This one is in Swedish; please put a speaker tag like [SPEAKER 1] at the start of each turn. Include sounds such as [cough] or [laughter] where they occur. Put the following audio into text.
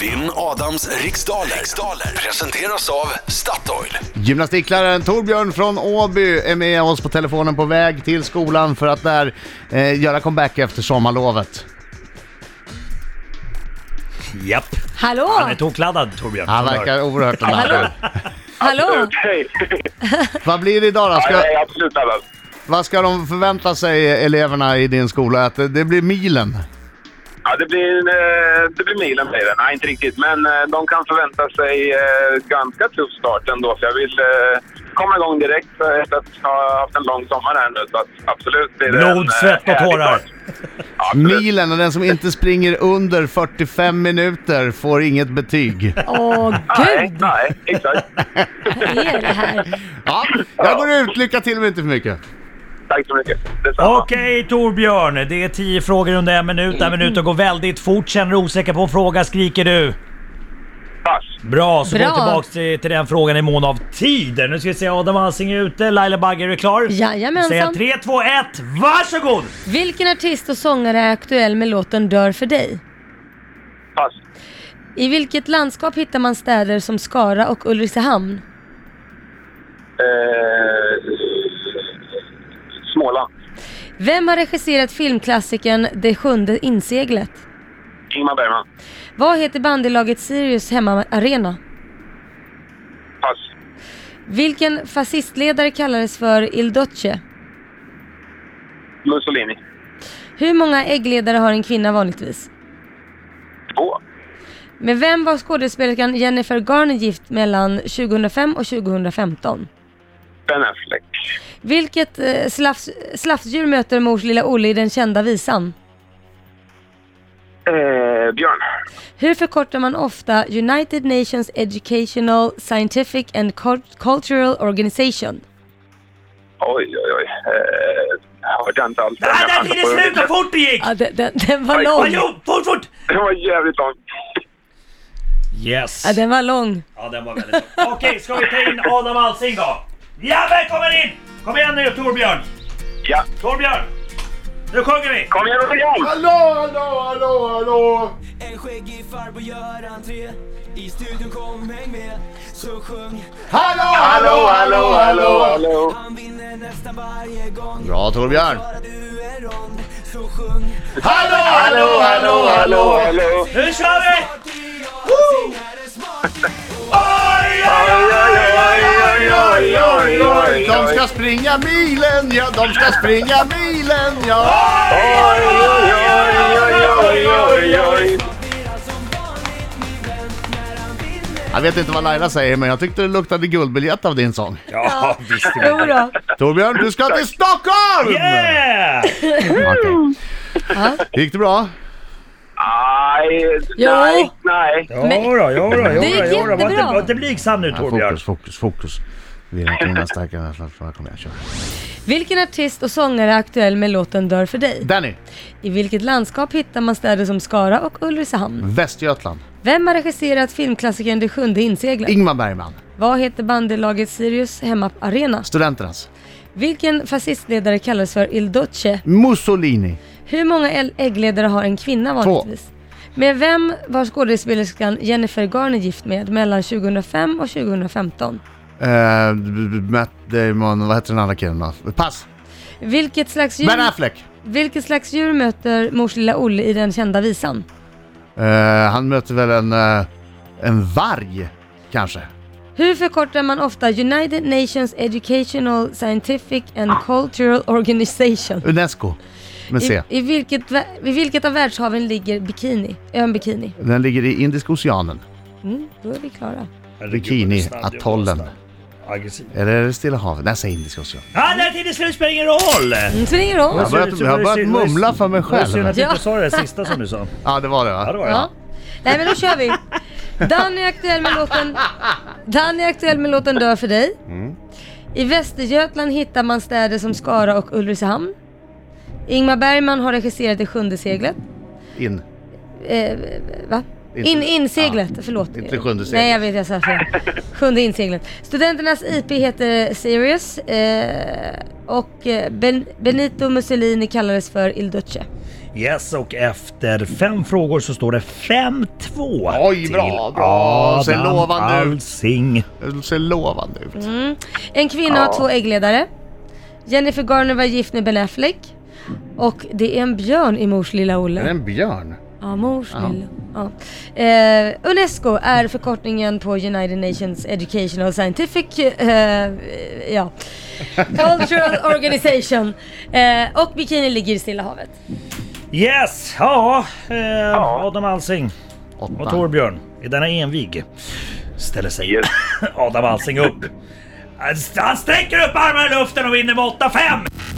[SPEAKER 1] Vinn Adams riksdaler. riksdaler presenteras av Statoil.
[SPEAKER 2] Gymnastikläraren Torbjörn från Åby är med oss på telefonen på väg till skolan för att där eh, göra comeback efter sommarlovet.
[SPEAKER 3] Japp.
[SPEAKER 4] Hallå!
[SPEAKER 3] Han är tokladdad Torbjörn.
[SPEAKER 2] Han verkar oerhört laddad.
[SPEAKER 4] Hallå!
[SPEAKER 5] Hej!
[SPEAKER 2] Vad blir det idag då?
[SPEAKER 5] Nej,
[SPEAKER 2] Ska,
[SPEAKER 5] nej, absolut laddad.
[SPEAKER 2] vad ska de förvänta sig eh, eleverna i din skola? Att det, det blir milen?
[SPEAKER 5] Ja, det blir, eh, det blir milen blir det. Nej, inte riktigt. Men eh, de kan förvänta sig eh, ganska tuff start ändå. Så jag vill eh, komma igång direkt eh, efter att ha haft en lång sommar här nu. Så att absolut blir det en,
[SPEAKER 3] Blod,
[SPEAKER 5] eh,
[SPEAKER 3] svett och
[SPEAKER 5] härlig
[SPEAKER 3] tårar.
[SPEAKER 5] start. Ja, absolut.
[SPEAKER 2] Milen och den som inte springer under 45 minuter får inget betyg.
[SPEAKER 4] Åh
[SPEAKER 3] [laughs]
[SPEAKER 5] Nej,
[SPEAKER 4] gud!
[SPEAKER 5] nej, exakt.
[SPEAKER 4] Vad är det här?
[SPEAKER 2] Ja, jag går ut. Lycka till men inte för mycket.
[SPEAKER 5] Tack så mycket. Detsamma.
[SPEAKER 3] Okej Torbjörn, det är tio frågor under en minut. En minut och går väldigt fort. Känner du osäker på en fråga skriker du.
[SPEAKER 5] Pass.
[SPEAKER 3] Bra, så
[SPEAKER 4] Bra.
[SPEAKER 3] går vi tillbaka till, till den frågan i mån av tid. Nu ska vi se, Adam Alsing är ute. Laila Bagge, är du klar?
[SPEAKER 4] Jajamensan.
[SPEAKER 3] Säg 3, 2, 1, varsågod!
[SPEAKER 4] Vilken artist och sångare är aktuell med låten Dör för dig?
[SPEAKER 5] Pass.
[SPEAKER 4] I vilket landskap hittar man städer som Skara och Ulricehamn?
[SPEAKER 5] Eh, Småland.
[SPEAKER 4] Vem har regisserat filmklassikern Det sjunde inseglet?
[SPEAKER 5] Ingmar Bergman.
[SPEAKER 4] Vad heter bandylaget Sirius hemmaarena?
[SPEAKER 5] Pass.
[SPEAKER 4] Vilken fascistledare kallades för Il Duce?
[SPEAKER 5] Mussolini.
[SPEAKER 4] Hur många äggledare har en kvinna vanligtvis?
[SPEAKER 5] Två.
[SPEAKER 4] Med vem var skådespelerskan Jennifer Garner gift mellan 2005 och 2015?
[SPEAKER 5] Ben Affleck.
[SPEAKER 4] Vilket eh, slafs, slafsdjur möter mors lilla Olle i den kända visan?
[SPEAKER 5] Eh, Björn.
[SPEAKER 4] Hur förkortar man ofta United Nations Educational, Scientific and Cult- Cultural Organization?
[SPEAKER 5] Oj, oj, oj. Eh, hörde jag inte alls.
[SPEAKER 3] Där, där tiden slut! Vad fort det gick!
[SPEAKER 4] Ja, den, den, den var
[SPEAKER 5] Oj,
[SPEAKER 3] Vad
[SPEAKER 4] lång.
[SPEAKER 3] gjort? Fort, fort!
[SPEAKER 5] Det var jävligt långt.
[SPEAKER 3] Yes.
[SPEAKER 4] Ja, den var lång.
[SPEAKER 3] Ja, den var väldigt bra. Okej, ska vi ta in Adam Alsing då? Ja, välkommen in! Kom igen nu Torbjörn!
[SPEAKER 5] Ja,
[SPEAKER 3] Torbjörn! Nu sjunger vi!
[SPEAKER 5] kom igen, Örjan!
[SPEAKER 2] Hallå, hallå, hallå, hallå!
[SPEAKER 6] En skäggig farbror gör entré I studion kom häng med Så sjung
[SPEAKER 2] Hallå, hallå, hallå,
[SPEAKER 5] hallå!
[SPEAKER 6] Han vinner nästan varje gång
[SPEAKER 2] Bra Torbjörn!
[SPEAKER 6] Bara du är rond Så sjung
[SPEAKER 2] Hallå, hallå, hallå,
[SPEAKER 5] Hallå, hallå!
[SPEAKER 3] Nu kör vi!
[SPEAKER 6] Woo!
[SPEAKER 3] Oj, oj, oj!
[SPEAKER 2] De ska springa milen, ja, de ska springa milen, ja! Jag vet inte vad Laila säger, men jag tyckte det luktade guldbiljett av din sång.
[SPEAKER 3] Ja, visst.
[SPEAKER 4] Jo då.
[SPEAKER 2] Torbjörn, du ska till Stockholm!
[SPEAKER 3] Yeah!
[SPEAKER 2] Okej. Gick det bra?
[SPEAKER 5] Nej, nej, nej.
[SPEAKER 3] Jodå, jodå, jodå.
[SPEAKER 4] Det gick
[SPEAKER 3] jodå. Var inte-
[SPEAKER 4] jättebra.
[SPEAKER 3] Var inte blygsam nu Torbjörn.
[SPEAKER 2] Fokus, fokus, fokus. Vi är kvinnan starkare än slarvarna. Kom igen, kör.
[SPEAKER 4] Vilken artist och sångare är aktuell med låten Dör för dig?
[SPEAKER 2] Danny,
[SPEAKER 4] I vilket landskap hittar man städer som Skara och Ulricehamn?
[SPEAKER 2] Västergötland.
[SPEAKER 4] Vem har regisserat filmklassikern Det sjunde inseglet?
[SPEAKER 2] Ingmar Bergman,
[SPEAKER 4] Vad heter bandylaget Sirius hemmaarena?
[SPEAKER 2] Studenternas.
[SPEAKER 4] Vilken fascistledare kallades för Il Duce?
[SPEAKER 2] Mussolini.
[SPEAKER 4] Hur många äl- äggledare har en kvinna vanligtvis? Med vem var skådespelerskan Jennifer Garner gift med mellan 2005 och 2015?
[SPEAKER 2] Eh, b- b- Matt Damon, vad heter den andra killen då? Pass!
[SPEAKER 4] Vilket slags djur,
[SPEAKER 2] Ben Affleck!
[SPEAKER 4] vilket slags djur möter mors lilla Olle i den kända visan?
[SPEAKER 2] Eh, han möter väl en, eh, en varg, kanske?
[SPEAKER 4] Hur förkortar man ofta United Nations Educational, Scientific and Cultural Organization?
[SPEAKER 2] Unesco, med
[SPEAKER 4] I,
[SPEAKER 2] C.
[SPEAKER 4] i, vilket, vä- I vilket av världshaven ligger Bikini? Ön Bikini?
[SPEAKER 2] Den ligger i Indiska oceanen.
[SPEAKER 4] Mm, då är vi klara.
[SPEAKER 2] Bikini-atollen.
[SPEAKER 3] Aggressiv.
[SPEAKER 2] Eller är det Stilla havet? Nej, säg Indiska oceanen.
[SPEAKER 3] Ja, när tiden är slut spelar ingen roll!
[SPEAKER 4] Mm, så det är ingen roll.
[SPEAKER 2] Jag har börjat, jag har börjat mumla för mig
[SPEAKER 3] Det var synd
[SPEAKER 2] själv.
[SPEAKER 3] att du
[SPEAKER 4] Ja.
[SPEAKER 3] inte sa det sista som du sa.
[SPEAKER 2] Ja, det var det
[SPEAKER 3] Ja, det
[SPEAKER 2] va?
[SPEAKER 3] var det.
[SPEAKER 4] Ja. Nej men då kör vi. Danny är aktuell med låten, Danny är aktuell med låten Dör för dig.
[SPEAKER 2] Mm.
[SPEAKER 4] I Västergötland hittar man städer som Skara och Ulricehamn. Ingmar Bergman har regisserat Det sjunde seglet.
[SPEAKER 2] In.
[SPEAKER 4] Eh, va?
[SPEAKER 2] Inte-
[SPEAKER 4] In, inseglet, förlåt.
[SPEAKER 2] inte sjunde seglet.
[SPEAKER 4] Nej jag vet, jag sa fel. Sjunde inseglet. Studenternas IP heter Sirius eh, och eh, ben, Benito Mussolini kallades för Il Duce.
[SPEAKER 3] Yes, och efter fem frågor så står det 5-2
[SPEAKER 2] Oj,
[SPEAKER 3] till
[SPEAKER 2] bra, bra. Ser
[SPEAKER 3] Adam
[SPEAKER 2] lovande ut.
[SPEAKER 3] Alsing.
[SPEAKER 2] Det ser lovande ut.
[SPEAKER 4] En kvinna har två äggledare. Jennifer Garner var gift med Ben Affleck. Och det är en björn i mors lilla Olle.
[SPEAKER 2] Är det en björn?
[SPEAKER 4] Ja, mors lilla. Ja. Eh, Unesco är förkortningen på United Nations Educational Scientific eh, ja. Cultural Organization. Eh, och bikini ligger i Stilla havet.
[SPEAKER 3] Yes, ja, eh, Adam Alsing och
[SPEAKER 2] Åtta.
[SPEAKER 3] Torbjörn i denna envig ställer sig [laughs] Adam Alsing upp. Han- Han sträcker upp armarna i luften och vinner med 8-5!